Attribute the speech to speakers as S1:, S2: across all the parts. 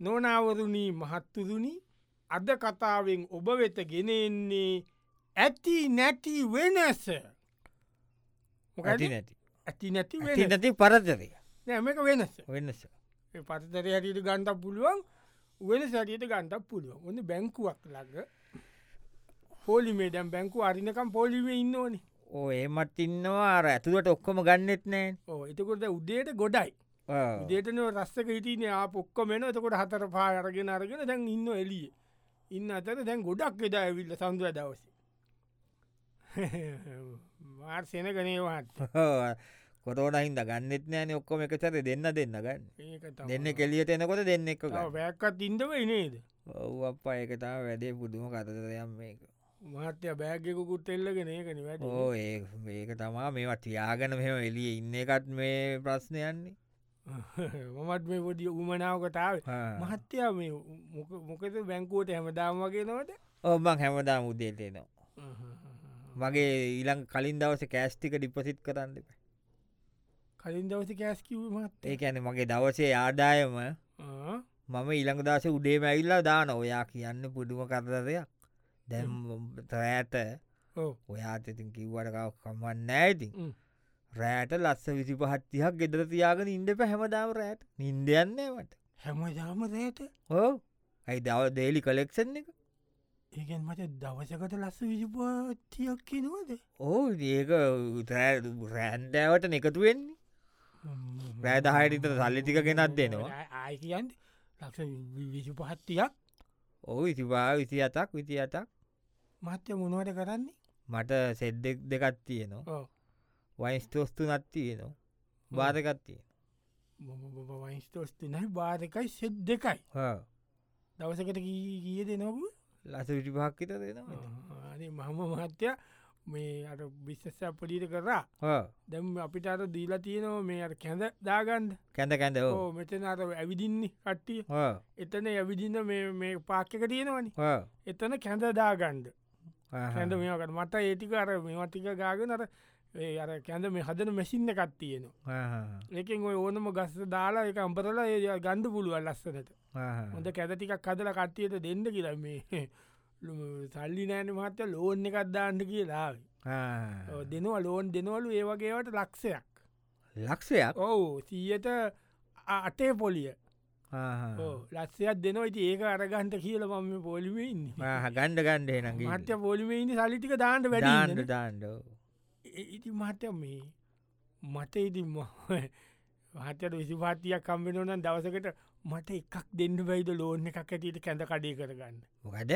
S1: නොනවරුණී මහත්තුරුණි අද කතාවෙන් ඔබ වෙත ගෙනෙන්නේ ඇති නැති වෙනස
S2: ඇති නැති
S1: ඇති නැති
S2: ඇති නැති පරතරය
S1: නෑමක වෙනස
S2: වෙනස
S1: පතතර හැටියට ගන්ඩක් පුළුවන් වෙන සැටියට ගන්ඩක් පුළුවන් ඔන්න බැංකුවක් ලග පොලිමේඩම් බැංකු අරිනකම් පොලිවේ ඉන්න ඕනි
S2: ඕ ඒමත් ඉන්නවා අර ඇතුළට ඔක්කොම ගන්නෙත්
S1: ඕ එතකොට උදේට ගොඩයි
S2: නෑ
S1: දේටන රස්සක හිටන පොක්කමෙන එතකොට හතර පා අරගෙන අරගෙන දැන් ඉන්න එලිය ඉන්න අතර දැන් ගොඩක් එදා ඇවිල්ල සඳුව දවස මාර්සෙන කනේවාත්
S2: කොරෝනහින්ද ගන්නෙත් නෑන ඔක්කොම එකසර දෙන්න දෙන්න ගන්න දෙන්න කෙලියට එනකොට දෙන්න එක ගන්න.
S1: බැක්කත් ඉන්දව නේද
S2: ඔව් අප්පා ඒකතාව වැඩේ පුදුම කතරයම් මේක
S1: මහත්‍ය බෑගකුත් එල්ලගෙන ඒකන වැට
S2: ඕ ඒ ඒක තමා මේවා තියාගන මෙම එලිය ඉන්න එකත් මේ ප්‍රශ්නයන්නේ
S1: මමත් මේ පොඩිය උමනාවකතාව මහත්‍යයා මේ මොක- මොකද බැංකුවට හැමදාම වගේ නොවට
S2: ඔබං හැමදා මුදේටේනවා මගේ ඊළං කලින් දවස කෑස්ටික ඩිපසිට් කරන්න දෙප
S1: කලින් දවස කෑස්කිව මත්
S2: ඒක ඇන මගේ දවසේ ආදායම මම ඉළඟ දස උඩේ මැවිල්ලා දාන ඔයා කියන්න පුදුම කරදරයක් දැම් රෑට
S1: ඕ
S2: ඔයාට ඉතින් කිව්වට කම්මන්න ඇතින්
S1: හ්ම්.
S2: රෑට ලස්ස විසි පහත්තිහක් ගෙදර තියාගෙන ඉන්ඩ පැහැමදාව රෑට නින්දයන්නවට
S1: හැමදාම රෑට
S2: හෝ ඇයි දව දේලි කලෙක්ෂන් එක
S1: ඒකෙන් මට දවසකට ලස්ස විජපාතියක් කිනවද
S2: ඕ ඒක රෑන්දෑවට එකතු වෙන්නේ රෑ දහයට විතර සල්ලි ටික ගෙනත් දෙනවා.
S1: ආය කියන්ට ලක්ෂ විසු පහත්තියක්
S2: ඕ විසිවා විසි අතක් විසි අතක්
S1: මත්‍ය මොනවට කරන්නේ
S2: මට සෙද්දෙක් දෙකත් තියනවා
S1: ඔව්.
S2: වයිස්තෝස්තු නත්තියනවා බාධකත්තිය
S1: වයිස්තෝස්තිනයි බාරකයි සෙද් දෙකයි දවසකට කී- කිය දෙනොකු
S2: ලස විටිපහක්කිත දෙනවා
S1: මහම මහත්‍ය මේ අට බිස්සස පොලිට කරා
S2: හා.
S1: දැම් අපිට අර දීලා තියෙනවා මේ අර කැඳ දාගන්ඩ
S2: කැඳ කැඳ ඕ
S1: ඕ මෙතන අර ඇවිදින්නේ කට්ටිය
S2: හා,
S1: එතන ඇවිදින්න මේ- මේ පාක්්‍යක තියෙනවනි
S2: හා,
S1: එතන කැඳ දාගන්ඩ
S2: හා,
S1: කැඳ මේකට මට ඒටික අර මේවටික ගාගෙන අර ඒ අර කැඳ මේ හදන මැසින්න එකක් තියෙනවා
S2: හා, හා,
S1: ඒකෙන් ඔය ඕනම ගස්ස දාලා එක අම්පරලා ඒ ගණ්ඩ පුළුවන් ලස්සනට
S2: හා, හා.
S1: හොඳ කැදටිකක් කදල කට්ටියට දෙන්න කියලා මේ ලු- සල්ලි නෑන මහත්ත ලෝන් එකත් දාන්න කියලා
S2: හා.
S1: ඔව් දෙනවා ලෝන් දෙනවලු ඒවගේවට ලක්ෂයක්
S2: ලක්ෂයක්
S1: ඔවු සීයට අටේ පොලිය
S2: හා, හා.
S1: ඔව්, ලක්ෂයක් දෙනවා ඉති ඒක අරගන්ට කියල මම පොලිමේ ඉන්න
S2: හා, හා, ගණ්ඩ ගණ්ඩේ
S1: මහත්‍ය
S2: නගේ
S1: පොලිමේ ඉන්න සල්ලිටික දාන්නට වැඩන්න
S2: ඩාන්ඩ ඩාන්ඩ
S1: ඉති මට මේ මට ඉති මහතට විසිපාතියක් කම්බෙනවන දවසකට මට එකක් දෙන්න බයිද ලෝන එකක් ඇටට කැඳ කඩේ කරගන්න
S2: මොකද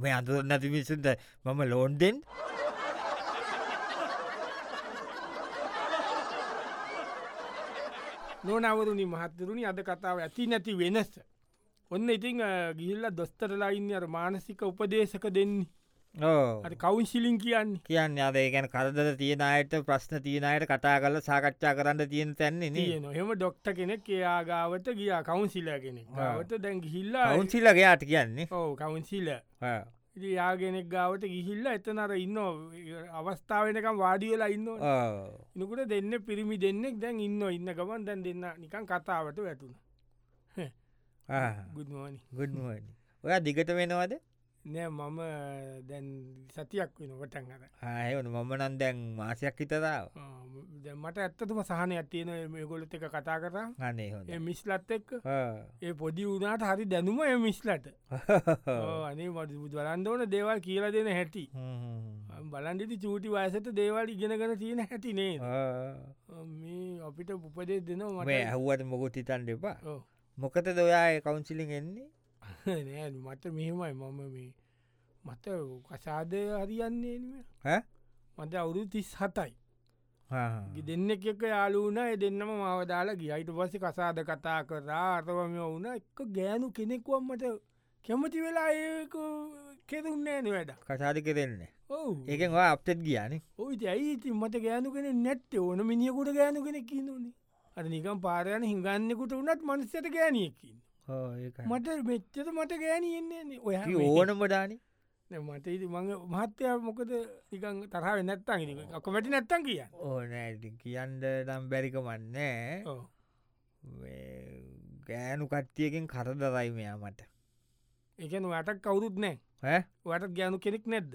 S2: මේ අඳුර නැති මිසුන්ට මම ලෝන්ඩෙන්
S1: නොනවරුණි මහත්තරුණි අද කතාව ඇති නැති වෙනස ඔන්න ඉතිං ගිල්ල දොස්තරලායින්න අර මානසික උපදේශක දෙන්නේ
S2: ඕ
S1: අ කවුන්ශිලින් කියන්නේ
S2: කියන්න අද ගැන කරදර තියෙන අයට ප්‍රශ්න තියෙන අයට කතා කරල සාකච්ඡා කරන්න තියෙන තැන්නේ නේ
S1: තියෙන එහෙම ඩොක්ට කෙනෙක් එයාගාවත ගියා කවුන්සිලගෙනෙක්
S2: ආ.
S1: ගාවත දැන් ගිහිල්ලා
S2: ඔවුන්සිල්ලගේයාට කියන්නේ
S1: ඕ කවුන්සිල
S2: ආ.
S1: යාගෙනෙක් ගාවට ගිහිල්ල එතනර ඉන්න අවස්ථාවනකම් වාඩියලා ඉන්න
S2: ආ.
S1: ඉනකට දෙන්න පිරිමි දෙන්නෙක් දැන් ඉන්න ඉන්න ගමන් දැන් දෙන්න නිකන් කතාවට වැටුණ
S2: ආ.
S1: ගුදමනි
S2: good morning. ඔයා දිගට වෙනවද
S1: නෑ මම දැන් සතියක් වෙන වටන් අර
S2: ආයවන මම නම් දැන් මාසයක් හිතරාව
S1: ආ, දැන් මට ඇත්තතුම සහනයක් තියෙන මේ ගොලොත් එක කතා කරා
S2: අනේ හොඳ
S1: ඒ මිස්ලත් එක්ක ඒ පොඩි වුණට හරි දැනුම එ මිස්ලට ඕ, අනේ මට බලන්ඩ ඕන දේවල් කියලා දෙන හැටි බලන්ඩිති චූටි වයසට දේවල් ඉගෙනගෙන තියෙන හැටි නේ මේ අපිට උපදේ දෙනවා
S2: මේ
S1: මට
S2: ඇහුවට මොකුත් හිතන් දෙපා
S1: ඔව්.
S2: මොකත දොයා කවුන්සිලින් එන්නේ
S1: නෑ මට මෙහෙමයි මම මේ මත කසාදය හරියන්නේ නෙමෙයි.
S2: ඈ?
S1: මට අවුරු තිස් හතයි
S2: ආ.
S1: ගි දෙන්න එක යාලුනා ඒ දෙන්නම මවදාලා ගියයිට පස්ස කසාද කතා කරා අතවම වුණ එක ගෑනු කෙනෙකුවම් මට කැමති වෙලා ඒක කෙරුන්නෑ නවැඩ
S2: කසාදි කරෙන්නේ
S1: ඔවු
S2: ඒකෙන් වා අප්ටෙත් ගියාන
S1: ඔයිති ඇයිති මට ගෑනු කෙන නැත්ත ඕන මිනිියකුට ගෑනු කෙන කින්නනේ අර නිකම් පාරයන හිඟන්නෙකුට වනත් මනස්සට ගෑනියකින් මට මෙච්චත මට ගෑනියෙන්නේ ඔය
S2: ඕනම ඩානි
S1: මට ඉතින් මං මහත්තයා මොකද නිකන් තරහ නැත්තන් කොමැටි නැත්තන් කියන්න
S2: ඕනෑ කියන්න නම් බැරිකමන්නේ
S1: ඔව්.
S2: කෑනු කට්ටියකින් කරදරයි මෙයා මට
S1: එකන වැටක් කවුරුත් නෑ
S2: ඈ?
S1: වැටත් ගෑනු කෙනෙක් නැද්ද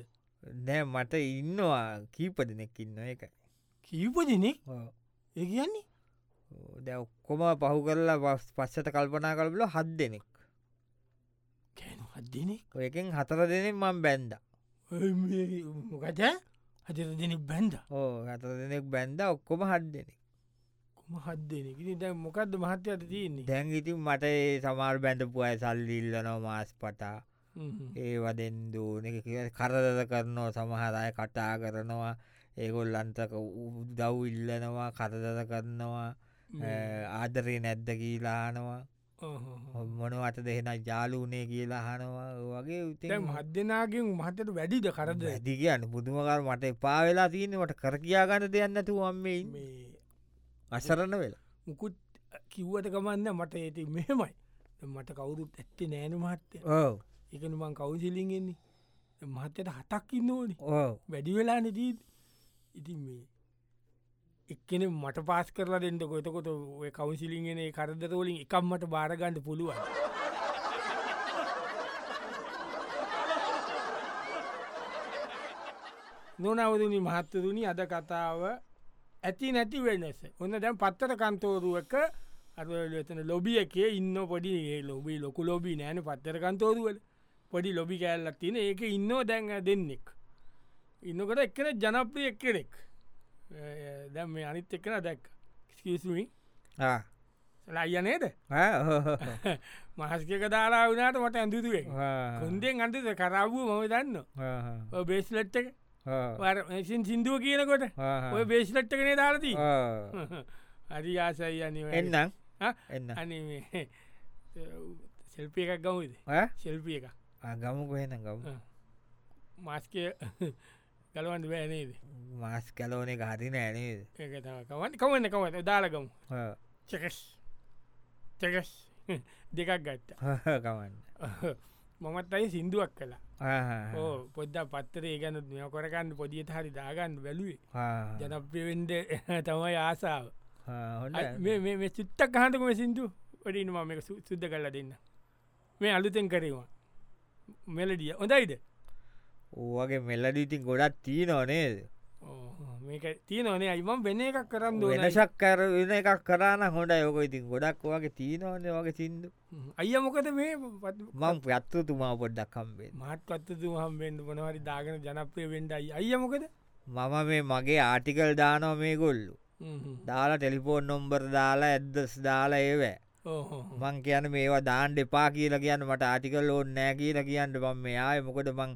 S2: නෑ මට ඉන්නවා කීප දෙනෙක් ඉන්න එක
S1: කීපදිනෙක් ඒ කියන්නේ
S2: දැ ඔක්කොම පහු කරලා පස්- පස්සට කල්පනා කල්පල හත් දෙනෙක්
S1: කෑනු අදදිනෙක්
S2: ඔය එකෙන් හතර දෙනෙක් මං බැන්ද
S1: මොකත හතර දෙනෙක් බැන්ඩ
S2: ඕ හතර දෙනෙක් බැන්ද ඔක්කොම හත් දෙනෙක්
S1: කොම හත් දෙනෙ දැ මොකක්ද මහත්්‍යයට තියන්නේ
S2: දැන් ඉතින් මට ඒ සමාර් බැඳපු අය සල්ලිල්ලනෝ මාස් පටා
S1: හ්ම්.
S2: ඒවදෙන් දූන එක කිය කරදද කරනවා සමහරය කටා කරනවා ඒගොල්ලන්තක දව් ඉල්ලනවා කරදද කරනවා ආදරේ නැද්ද කියලානවා
S1: ඔහොහො.
S2: මොන අත දෙහෙන ජාලූනේ කියලාහනවා වගේ
S1: දැන් මහත් දෙනාගෙන් මහතට වැඩිද කරද
S2: දිගන්න පුදුමකර මට එපා වෙලා තියනවට කර කියයාගන්න දෙයන්නතු අම්මයින්
S1: මේ
S2: අසරණ වෙලා
S1: මුකුත් කිව්වට කමන්න මට ඒති මෙහෙමයි දැන් මට කවුරුත් ඇත්තේ නෑන මහත්තය
S2: ඕ
S1: එකන මං කවුසිලිගෙන්නේ මහත්තයට හතක් ඉන්න ඕනේ
S2: ඕ
S1: වැඩි වෙලා නදී ඉතින් මේ එක්කෙන මට පාස් කරලා දෙට කොතකොට ඔය කවුසිලිගෙන කරදතෝලින් එකක් මට බාරගන්න පුළුවන් නොනවදනි මහත්තරුණි අද කතාව ඇති නැති වෙනස ඔන්න දැන් පත්තර කන්තෝරුවක අරතන ලොබිය එකේ ඉන්න පොඩි ඒ ලොබී ලොකු ලොබී නෑන පත්තර කන්තෝරුවල පොඩි ලොබි කෑල්ලක් තියෙන ඒක ඉන්නෝ දැන් දෙන්නෙක් ඉන්නකට එක්කෙන ජනප්‍රිය එක්කෙනෙක් දැම් මේ අනිත් එක්කෙන දැක් ස්කසමි ලයිය නේද මහස්කක දාලා වනාට මට ඇඳුතුුවේ කොන්දෙන් අන්තද කරාවූ මම දන්න ඔය බේස්ලට් එක වරසින් සිින්දුව කියනකොට ඔය බේස්ලට් එකනේ දාලදී අරි ආසයි අනිව
S2: එන්නම්
S1: ආ?
S2: එන්න
S1: අනි සෙල්පිය එකක් ගමුද
S2: ඈ?
S1: ශෙල්පිය එක
S2: ආ, ගමුකු එහෙනම් ගමු
S1: ආ. මාස්කය ගලවන්ඩ බෑනේද
S2: මාස් කලෝන එක හරි නෑනේද
S1: ඒකතකවන් කවන්න කවත දාලගමු
S2: ආ.
S1: චකස් චකස් දෙකක් ගත්ත
S2: ගමන්න
S1: මමත් අයි සිින්දුවක් කලා
S2: ආහා.
S1: ඕ පොද්දා පත්තරේ ගැන මෙ කොරගන්න පොදිිය හරි දාගන්න වැලුවේ
S2: ආහා.
S1: ජනප්‍රවෙන්ඩ තමයි ආසාාව
S2: ආ, හොඳයි.
S1: අයි, මේ- මේ මේ චුත්තක් හතකම සිින්දු වඩින් මම එක සු- සුද්ද කරලා දෙන්න මේ අලුතෙන් කරවා මෙලඩිය හොඳයිද
S2: ඕවගේ මෙල්ලඩීතින් ගොඩක් තිී නොනේද
S1: ඕ, මේක තිය නොනේ අයිමම් වෙන එකක් කරන්න ඕන
S2: වෙනශක් කර වෙන එකක් කරන්න හොඳ යෝක ඉතින් ගොඩක් වගේ තිීනෝන වගේ සිින්දු
S1: අයිය මොකද මේ
S2: මං ප්‍රත්තු තුමා පොඩ්ඩක්කම්බේ
S1: මාත්කත්තු හම්බෙන්ඩ මොනවරි දාගෙන ජනප්‍රය වෙන්ඩයි අයිය මොකද
S2: මම මේ මගේ ආටිකල් දානෝ මේ ගොල්ලු
S1: හ්ම් හ්ම්.
S2: දාලා ටෙලිෆෝන් නොම්බර් දාලා ඇද්දස් දාලා ඒවෑ
S1: ඕහොහො.
S2: මං කියන මේවා දාන්ඩ එපා කියලා කියන්න මට ආටිකල් ඕන් නෑ කියලා කියන්න බම් මෙයාය මොකද මං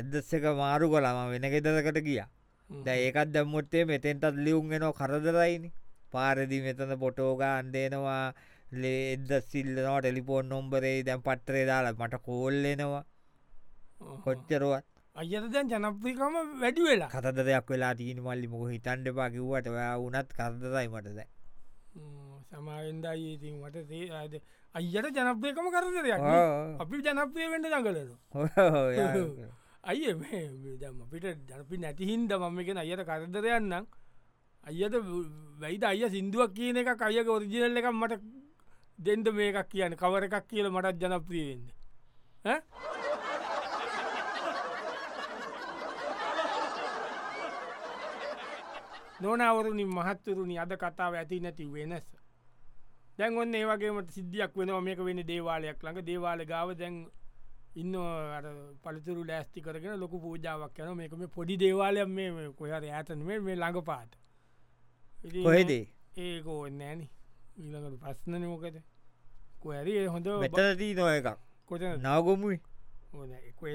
S2: ඇද්දස් එක මාරු කලාම වෙන ගෙදරකට ගිය
S1: හ්ම්.
S2: දැ ඒකත් දැම්මුත්තේ මෙතෙන්ටත් ලියුන්ගෙනෝ කරදරයිනි පාරදි මෙතන පොටෝගා අන්දේනවා ලේද සිල්ලනවා ටෙලිපෝන් නොම්බරේ දැම් පට්ටරේ දාලා මට කෝල්ලෙනවා
S1: ඕහො.
S2: කොච්චරුවත්
S1: අයියට දැන් ජනප්‍රිකම වැඩි වෙලා
S2: කතදයක් වෙලා තිීන මල්ලි මොක හිතන්ඩ පාකිව්වට ඔයා වනත් කරදරයි මටද
S1: සමාරෙන්ඩයි ඉතින් මට තේරද අයියට ජනප්‍රයකම කරදරයක් අපි ජනප්‍රය වෙන්ඩ දඟලන අයිය දම අපිට ජනපි නැතිහින්ද මම එකෙන අයට කරදරයන්නම් අයියට වැයිද අය සිින්දුවක් කියන එක අයක ඔරිජිනල් එක මට දෙන්ඩ මේකක් කියන කවර එකක් කියල මටත් ජනප්‍රියවෙන්න නොනවරුණින් මහත්තුරුණි අද කතාව ඇති නැති වෙනස දැන් ඔන්න ඒවගේමට සිද්ධියක් වෙනවා මේක වෙන දේවාලයක් ළඟ දේවාල ගාව දැන් ඉන්න අර පළතුරු ලෑස්ති කරගෙන ලොකු පූජාවක් යන මේක මේ පොඩි දේවාලයක් මේ මේ කොහර ඇතන මේ මේ ළඟ පාට ඉතින්
S2: කොහෙදේ
S1: ඒක ඔන්න ඇන ඊළඟට පස්සන මොකද කොහරි ඒ හොඳ
S2: මෙතනදී නො එකක්
S1: කොතන
S2: නවගොමුයි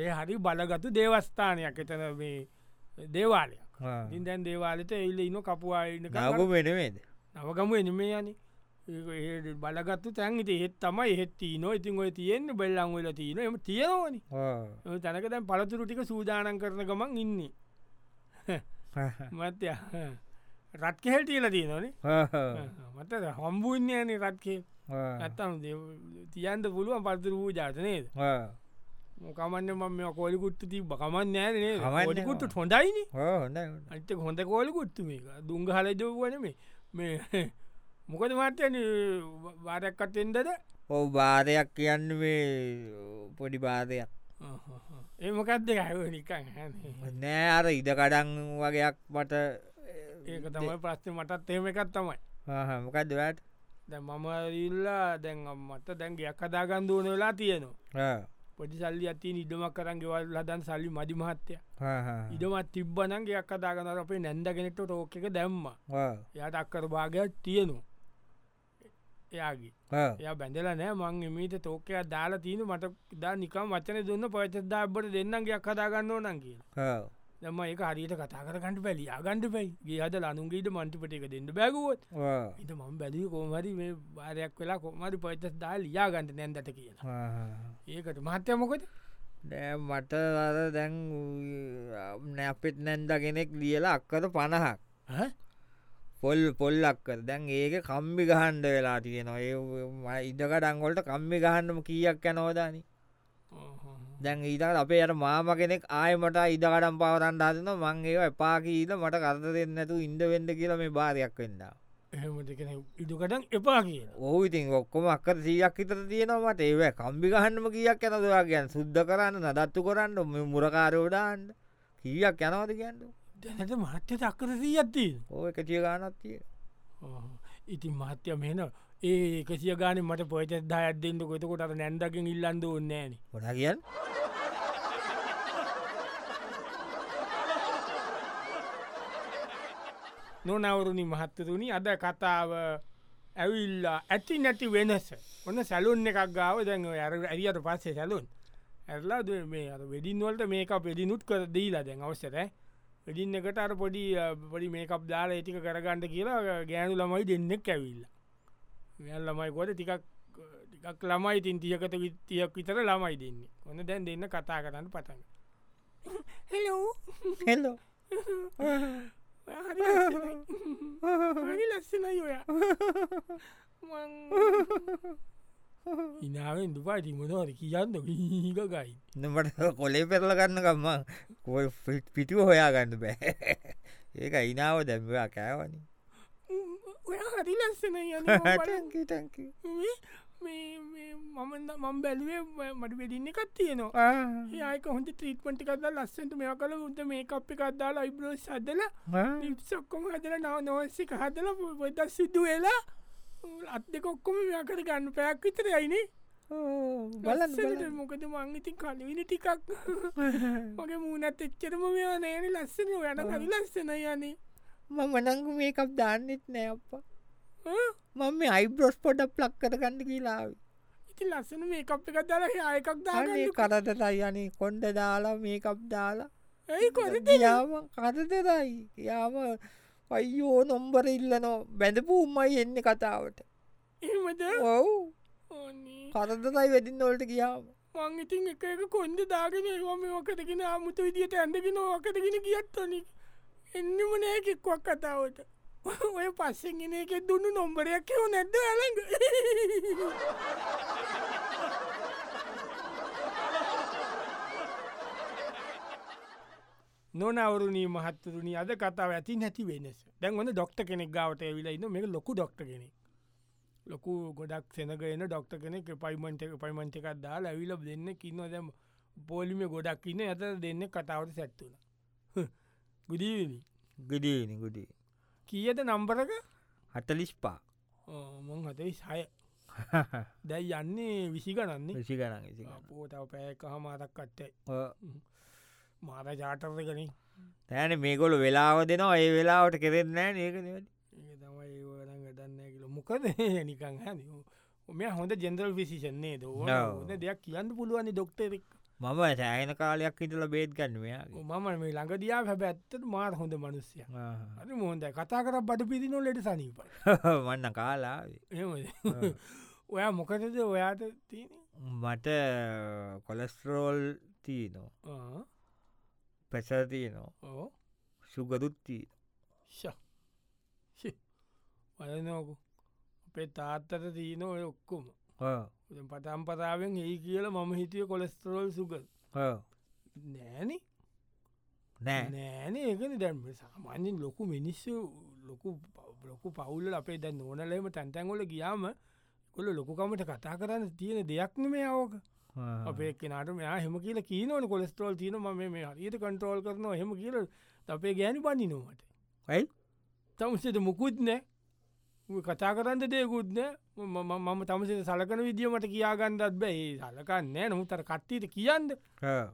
S1: ඒ හරි බලගතු දේවස්ථානයක් එතන මේ දේවාලයක් ඉතින් දැන් දේවාලට එල්ල ඉන්න කපුවාන්න
S2: නවගොම වෙනවේද
S1: නවගම එනම යන බලගත්තු තැන්ගට එහෙත් තමයි එහෙත් නෝ ඉතින් ඔය තියෙන්න්න බෙල්ලංවෙල තියන එම තියෙනවනි තැනක දැන් පළතුරු ටික සූදානන් කරන ගමන් ඉන්නේ මත්ය රත්කෙහෙල් තියල තියනනේ මත හම්බුන්නේන රත්කේ ඇත්තම් තියන්ට පුළුවන් පල්තුර වූ ජාතනයද මොකමන්න මම කොලිකුට්ට තිබ කමන්න
S2: කමක්
S1: නෑනේ
S2: නෑ.
S1: කොලිකුට්ට හොඳයින
S2: හොඳ
S1: අනිත හොඳ කෝලකුත්තු මේක දුංග හලජෝවන මේ මේ මොකද මත්තන වාරක්කත්තෙන්දද
S2: ඕ බාරයක් කියන්න මේ පොඩි බාරයක්
S1: ඒමකක්ද ඇව නිකන් හැ
S2: නෑ අර ඉඩකඩන් වගේයක් මට
S1: ඒක තමයි ප්‍රශ්න මටත් එහෙම එකත් තමයි
S2: මොකක්දවට
S1: දැ මම ඉල්ලා දැන් අම්මට දැන් ගයක් කදාගන්දුවන වෙලා තියෙනවා පොඩි සල්ලි අති ඉඩමක් කරන් ගෙවල් ලදන් සල්ලි මදි මහත්තය ඉඩමත් තිබ්බනන් ගයක් කදාගනර අපේ නැන්දගෙනෙට රෝක එක දැම්ම යට අක්කර භාගයක් තියනු එයාගේ එය බැඳල නෑ මං එමීට තෝකයා දාලා තියන මට දා නිකම් වචන දුන්න පොච්චදා බට දෙන්නම් ගයක් කදාගන්න ඕනන් කියන දම ඒ හරියට කතා කරකට පැලි අගන්ඩ පැයි ගේ අද ලනුන්ගේට මන්ටිපට එක දෙන්න බැගුවොත් ඉට මම බැලි කෝමරි මේ වාරයක් වෙලා කොමරි පොච්ච දා ලියා ගන්ට නැන්දට කියලා ඒකට මහත්‍ය මොකද
S2: නෑ මට අර දැන් නැපෙත් නැන්දගෙනෙක් ලියලා අක්කද පණහක් පොල් පොල්ලක්කර දැන් ඒක කම්බි ගහන්ඩ වෙලා තියෙනවා ඒ ඉදකඩංගොලට කම්මි ගහන්නම කියක් යනෝදානි දැන් ඊතකට අපේ යට මාම කෙනෙක් ආයමට ඉදකඩම් පවරන්ට අදන මං ඒ එපාකීද මට කරද දෙන්නතු ඉන්ඩ වෙන්ඩ කියලා මේ භාරයක් වෙන්නා
S1: ඉදුකටන් එපා කියන
S2: ඕ ඉතින් ඔක්කොම අක්කර සීයක් හිතර තියෙනවට ඒව කම්බි ගහන්නම කියක් යනදවා කියන් සුද්ධ කරන්න නදත්තු කරන්න මෙ මුරකාරෝඩාන්ට කියක් යනවද කියන්නු
S1: දැනට මහත්‍ය දක්කර සීයත්ති
S2: ඕ එකටිය ගානත් තිය
S1: ඉතින් මහත්‍ය මෙන ඒ කසිය ගාන මට පොච දායත්දෙන්ට කොතකොට අර නැන්දකින් ඉල්ලන්ද ඔන්නෑන
S2: ොඩ කියන්න
S1: නොනවරුණි මහත්තතුනි අද කතාව ඇවිල්ලා ඇති නැති වෙනස ඔන්න සැලුන් එකක් ගාව දැන් ඔය අර ඇරියට පස්සේ සැලුන් ඇරලා ද මේ අර වෙඩින්වලට මේක පෙඩිනුත් කර දීලා දැන් අවසර වෙඩින් එකට අර පොඩි පොඩි මේකක් දාලා ඒටික කරගන්නට කියලා ගෑනු ළමයි දෙන්නෙක් ඇවිල්ලා මෙල් ළමයිකොට ටිකක් ටිකක් ළමයි ඉතින් තියකට විත්තියක් විතර ළමයි දෙන්නේ ඔන්න දැන් දෙන්න කතා කරන්න පටන්න හෙලෝ
S2: හෙල්ලෝ
S1: හරි ලස්සනයි ඔයා ඉනාවෙන් දුපාටි මොනවර කියන්න ගීකගයි
S2: නට කොලේ පෙරල ගන්නකම්ම කොල් පිටුව හොයා ගන්න බෑ ඒක ඉනාව දැම්වා කෑවනි
S1: ඔයා හරි ලස්සන මම බැලුවේ මට වෙඩින්න එකක් තියෙනවා ඒක හොඳ ත්‍රීට්මටි කද ලස්සට මේ කල උද මේ කප්ි කක්දාලා ඉබ්‍රෝ සදල සොක්කොම හදල නව නොවස්සි හදල පොද සිදු වෙලා අත් දෙකොක්කොම මෙයාකට ගන්න පැයක් විතර යයිනේ බලසට මොකද මංගිතින් කලවින ටිකක් මගේ මූනත් එච්චරම මෙවා නෑන ලස්සන යන කවි ලස්සන යනේ
S2: මම නංගු මේකක් දාන්නෙත් නෑ අප්පා මම මේ අයිබ්‍රෝස් පොඩ ප්ලක් කරගන්න කියලාවි
S1: ඉති ලස්සන මේ කප් එක දල යකක් දාන
S2: කරදතයි යනේ කොන්්ඩ දාලා මේකක් දාලා
S1: ඇයි කොර
S2: යාම කතතයි යාම පයිෝ නොම්බර ඉල්ලනෝ බැඳපු උම්මයි එන්න කතාවට
S1: එමද
S2: ඔව් කරදතයි වැඩින් නොලට කියාව
S1: මං ඉතින් එක එක කොන්ද දාගෙන ඒවාම ඕකතගෙන මුතු විදිට ඇඳගෙන ඕකතගෙන ගියත්තනි එන්නම නෑකෙක්වක් කතාවට ඔය පස්සෙන්ගෙන එක දුන්නු නොම්බරයක් හෝ නැද්ද ඇළඟ නොනවරුණී මහත්තුරුණි අද කතාව ඇති නැති වෙනස් දැන් ඔන්න ඩොක්ට කෙනෙක් ගාවට ඇවිලයින්න මේ ලොකු ඩොක්ට කෙනෙක් ලොකු ගොඩක් සෙනගෙන ඩොක්ට කෙනෙක් පයිමන්ට පයිමන්ට එකක් දා ඇවිල දෙන්න කින්න දැම පෝලිම ගොඩක් ඉන්න ඇත දෙන්න කතාවට සැත්තුුණ ගුදීවිනි
S2: ගඩියනි ගුඩි
S1: කියද නම්බරක
S2: හටලිස්්පා
S1: මොං හතයි සය දැයි යන්නේ විසිගනන්නේ
S2: සිගන
S1: පෝතාව පෑක හමාතක් කට්ටයි මාර ජාටර්ද කනින්
S2: තෑන මේකොලු වෙලාව දෙනවා ඒ වෙලාවට කෙරෙන්නෑ ඒකනට
S1: ඒ තමයි ඒවරන් ගදන්න කියල මොකද නිකං හ මෙ හොඳ ජෙන්දරල් විසිෂන්නේ ද හොඳ දෙයක් කියන්න පුළුවන්නේ ඩොක්ටෙක්
S2: මම සෑන කාලයක් හිටල බේත් ගන්නවයා
S1: මම මේ ළඟදයා හැබ ඇත්තට මාර හොඳ මනුස්්‍යය අනි මොහොද කතා කර බඩ පිදි නොලට සනීප
S2: වන්න කාලා
S1: ඔයා මොකටද ඔයාට තියෙන
S2: මට කොලස්ටරෝල් තියනෝ පැසතියනෝ
S1: ඕ
S2: සුගදුත්තිී
S1: වලනෝකු අපේ තාත්තට තියන ඔය ඔක්කොම පටම් පතාවෙන් ඒ කියල මම හිටිය කොලස්තරෝල් සුගත් නෑන
S2: නෑ
S1: නෑන ඒකන දැන්ම සාමාන්‍යෙන් ලොකු මිනිස්සු ලොකු බ්ලොකු පවුල්ල අපේ දැන් ඕනලම තැන්තැන්ගොල ගියාම කොල ලොකුකමට කතා කරන්න තියෙන දෙයක්න මේ ඕක අපේ කෙනට මෙයා හෙම කියල කීනවන කොලස්ටරෝල් තියන ම මේ හරියට කන්ට්‍රෝල් කරනවා හෙම කියල අපේ ගෑනි පණි නොමට
S2: ඇයි
S1: තමසට මුකුත් නෑ කතා කරන්න දෙයකුත්න මම තමසේ සලකන විදිියමට කියාගන්නත් බැයි සලකන්න නොමුතර කට්ටීට කියන්න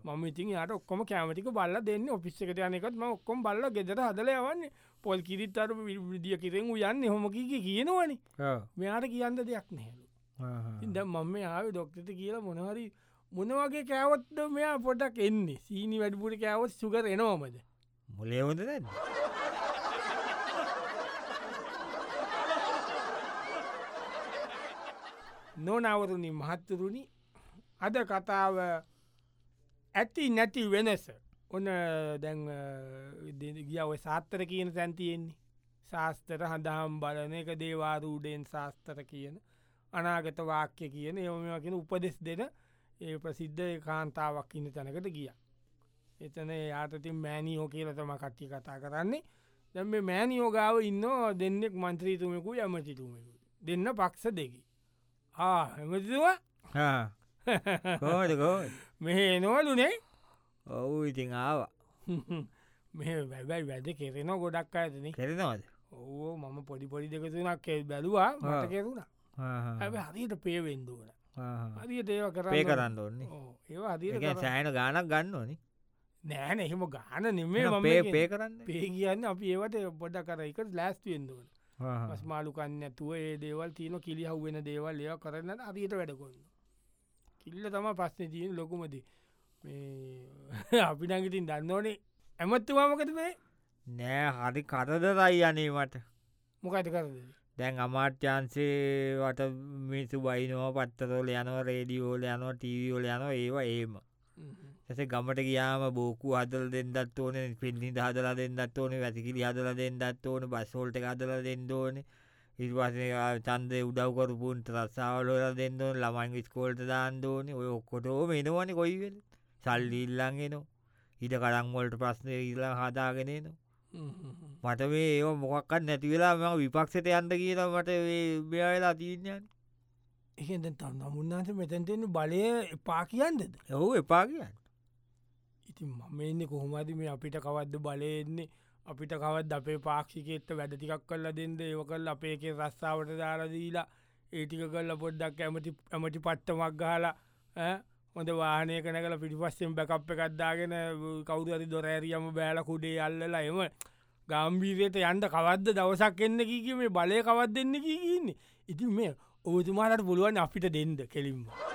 S1: මම ඉතින් යට ඔක්කොම කෑමටික බල්ල දෙන්න ඔපිස්සකට යනකත් ම ඔක්කොම් බල්ල ගෙදර හදලයවන්නේ පොල් කිරිත් අර විදිිය කිරෙන් යන්න හොමකික කියනවනි මෙයාට කියන්න දෙයක් නැහැලු ඉද මම ආව ඩොක්ටට කියලා මොනහරි මොන වගේ කෑවත්ද මෙයා පොටක් එන්නේ සීනි වැඩිපුර කෑවත් සුකර එනවාමද
S2: මුලේවොද දැන්න
S1: නොනවරුණි මහත්තුරුණි අද කතාව ඇති නැති වෙනස ඔන්න දැන් ගියාව සාත්තර කියන තැන්තියෙන්නේ ශාස්තර හඳහම් බලන එක දේවාරූඩයෙන් ශාස්තර කියන අනාගත වාක්‍ය කියන එමකින උපදෙස් දෙන ඒ ප්‍රසිද්ධ කාන්තාවක් ඉන්න තැනකට ගිය. එතන යාතතින් මෑනියෝ කියලතම කට්ටි කතා කරන්නේ දැම මෑනියෝගාව ඉන්න දෙන්නෙක් මන්ත්‍රීතුමෙකු යමතිතුමෙකු දෙන්න පක්ෂ දෙකි. ආ හැමතිතුවා මෙහේ නොවලුනේ
S2: ඔවු ඉතිං ආවා
S1: මෙ වැැබැයි වැද කෙරෙන ගොඩක් ඇතන
S2: කෙරෙනවාද
S1: ඕ මම පොඩි පොඩි දෙකතුනක් බැලවා මට කෙරුණා ඇ හරියට පේවෙන්දුවන හරියට ඒව කර
S2: පේ කරන්න ඕන්නේ
S1: ඒ අ
S2: සෑන ගානක් ගන්න ඕනි
S1: නෑන එහෙම ගාන නෙමේ
S2: පේ පේ කරන්න
S1: පේ කියන්න අපි ඒවට පොඩ කර එක ලෑස්තිවෙන්දුවන මස්මාලුකන්න ඇතුව ඒ දේවල් තියන කිලිහව් වෙන දේවල් ඒව කරන්න අරියට වැඩකොන්න කිල්ල තම පස්සන තියෙන් ලොකුමදී අපි නැගිතින් දන්නඕනේ ඇමත්තුවාමකත මේ
S2: නෑ හරි කරදරයි යනීමට
S1: මොකඇති කරදේ
S2: දැන් අමාර්්‍යන්සේට මිසු බයිනෝ පත්තතෝල යනව රේඩියෝල යනෝ ටීවෝල යන ඒවා ඒම ඇස ගමට ගියාම බෝකු අදල් දෙදත් ඕන පිල්ලි හදලා දෙදත් ඕන වැසිකිලි හදලා දෙදත් ඕන බස්සෝල්ට අදල දෙදෝන ඉස්වාසය චන්දය උඩවකරපුන් ත්‍රස්සාාවලෝල දෙදෝන ළමයින් ස්කෝල්ට දාන්දෝන ඔය ඔක්කොටෝ මෙෙනවන කොයිවල් සල්ලිල්ලන්ගෙනවා ඉඩ කරංවොල්ට ප්‍රශ්නය ඉල්ලා හදාගෙනනවා මට මේ ඒ මොකක්කත් නැතිවෙලා ම විපක්ෂට යන්ද කියලා මට බ්‍යවෙලා තිීඥන්
S1: එහෙද තන්න මුන්නාස මෙතැන්ටෙන බලය එපා කියන්නද
S2: ඔහු එපා කියන්න
S1: ඉතින් මම එන්නේ කොහොමද මේ අපිට කවද්ද බලයන්නේ අපිට කවත් අපේ පාක්ෂිකෙත්ත වැඩටිකක් කල්ලා දෙන්ද ඒව කල් අපේ එක රස්සාාවට දාරදීලා ඒටික කල්ල පොඩ්ඩක් ඇමති ඇමටි පට්ටමක් ගහලා හොඳ වානය කනකල පිටිපස්සෙන් බැකප් එකත්දාගෙන කවුද ඇති දොරෑරියම බෑල කුඩේ අල්ලලා එම ගම්බීරයට යන්ට කවද්ද දවසක් එන්න කිය මේ බලය කවත් දෙන්න කියන්න ඉතින් මේ ඔබතුමාට පුළුවන් අපිට දෙන්ද කෙලින්වා.